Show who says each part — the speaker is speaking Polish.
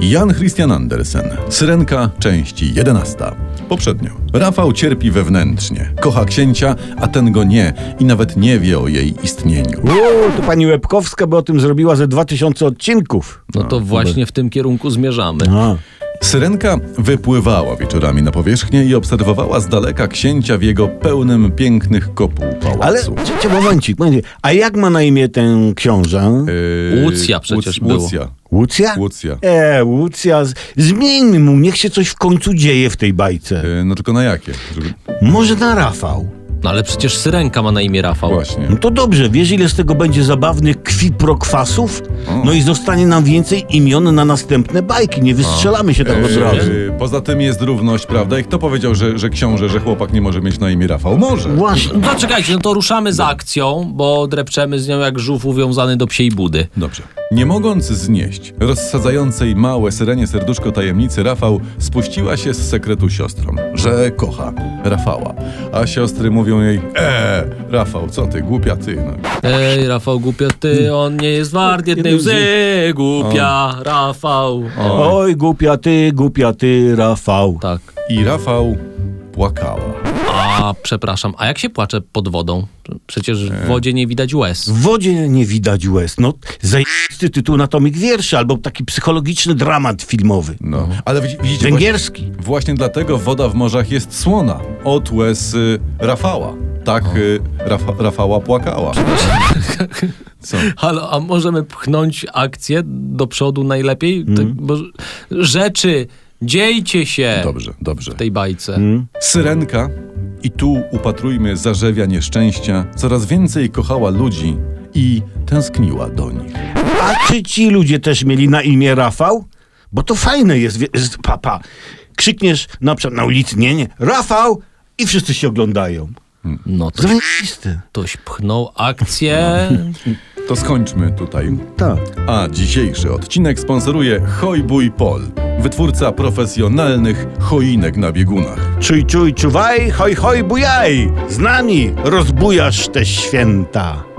Speaker 1: Jan Christian Andersen, Syrenka, części 11. Poprzednio. Rafał cierpi wewnętrznie, kocha księcia, a ten go nie i nawet nie wie o jej istnieniu.
Speaker 2: Uuu, to pani Łebkowska by o tym zrobiła ze 2000 odcinków.
Speaker 3: No to właśnie w tym kierunku zmierzamy.
Speaker 2: A.
Speaker 1: Syrenka wypływała wieczorami na powierzchnię i obserwowała z daleka księcia w jego pełnym pięknych kopuł
Speaker 2: Ale,
Speaker 1: pałacu.
Speaker 2: czekaj, momencik, momencik. A jak ma na imię ten książę? Eee,
Speaker 1: Yy,
Speaker 3: Łucja przecież
Speaker 1: Łuc-
Speaker 3: było.
Speaker 1: Łucja.
Speaker 2: Łucja?
Speaker 1: Łucja.
Speaker 2: E, Łucja. z- Zmieńmy mu, niech się coś w końcu dzieje w tej bajce.
Speaker 1: Yy, No tylko na jakie? Żeby...
Speaker 2: Może na Rafał.
Speaker 3: No ale przecież Syrenka ma na imię Rafał.
Speaker 1: Właśnie.
Speaker 2: No to dobrze, wiesz ile z tego będzie zabawnych kwiprokwasów? No i zostanie nam więcej imion na następne bajki. Nie wystrzelamy się tak od
Speaker 1: Yy,
Speaker 2: razu.
Speaker 1: yy, Poza tym jest równość, prawda? I kto powiedział, że, że książę, że chłopak nie może mieć na imię Rafał? Może.
Speaker 2: Właśnie.
Speaker 3: No czekajcie, no to ruszamy za akcją, bo drepczemy z nią jak żółw uwiązany do psiej budy.
Speaker 1: Dobrze. Nie mogąc znieść rozsadzającej małe syrenie serduszko tajemnicy, Rafał spuściła się z sekretu siostrą, że kocha Rafała. A siostry mówią jej, eee, Rafał, co ty, głupia ty. No.
Speaker 3: Ej, Rafał, głupia ty, on nie jest wart jednej łzy, głupia, Rafał. O,
Speaker 2: Oj, głupia ty, głupia ty, Rafał.
Speaker 3: tak.
Speaker 1: I Rafał płakała.
Speaker 3: A, przepraszam, a jak się płacze pod wodą? Przecież w wodzie nie widać łez.
Speaker 2: W wodzie nie widać łez. No, zajebisty tytuł na tomik wierszy albo taki psychologiczny dramat filmowy.
Speaker 1: No. Ale widzi- widzicie, właśnie,
Speaker 2: Węgierski.
Speaker 1: właśnie dlatego woda w morzach jest słona od łez y, Rafała. Tak y, Rafa, Rafała płakała. Co?
Speaker 3: Halo, a możemy pchnąć akcję do przodu najlepiej? Tak, bo rzeczy, dziejcie się
Speaker 1: Dobrze, dobrze.
Speaker 3: w tej bajce.
Speaker 1: Syrenka, i tu upatrujmy zarzewia nieszczęścia, coraz więcej kochała ludzi i tęskniła do nich.
Speaker 2: A czy ci ludzie też mieli na imię Rafał? Bo to fajne jest, wie- jest papa. Krzykniesz na przykład na ulicy, nie, nie, Rafał i wszyscy się oglądają.
Speaker 3: No to
Speaker 2: Zajebisty.
Speaker 3: ktoś pchnął akcję.
Speaker 1: To skończmy tutaj.
Speaker 2: Tak.
Speaker 1: A dzisiejszy odcinek sponsoruje Hojbuj Pol, wytwórca profesjonalnych choinek na biegunach.
Speaker 2: Czuj, czuj, czuwaj, hoj, hoj, bujaj. Z nami rozbujasz te święta.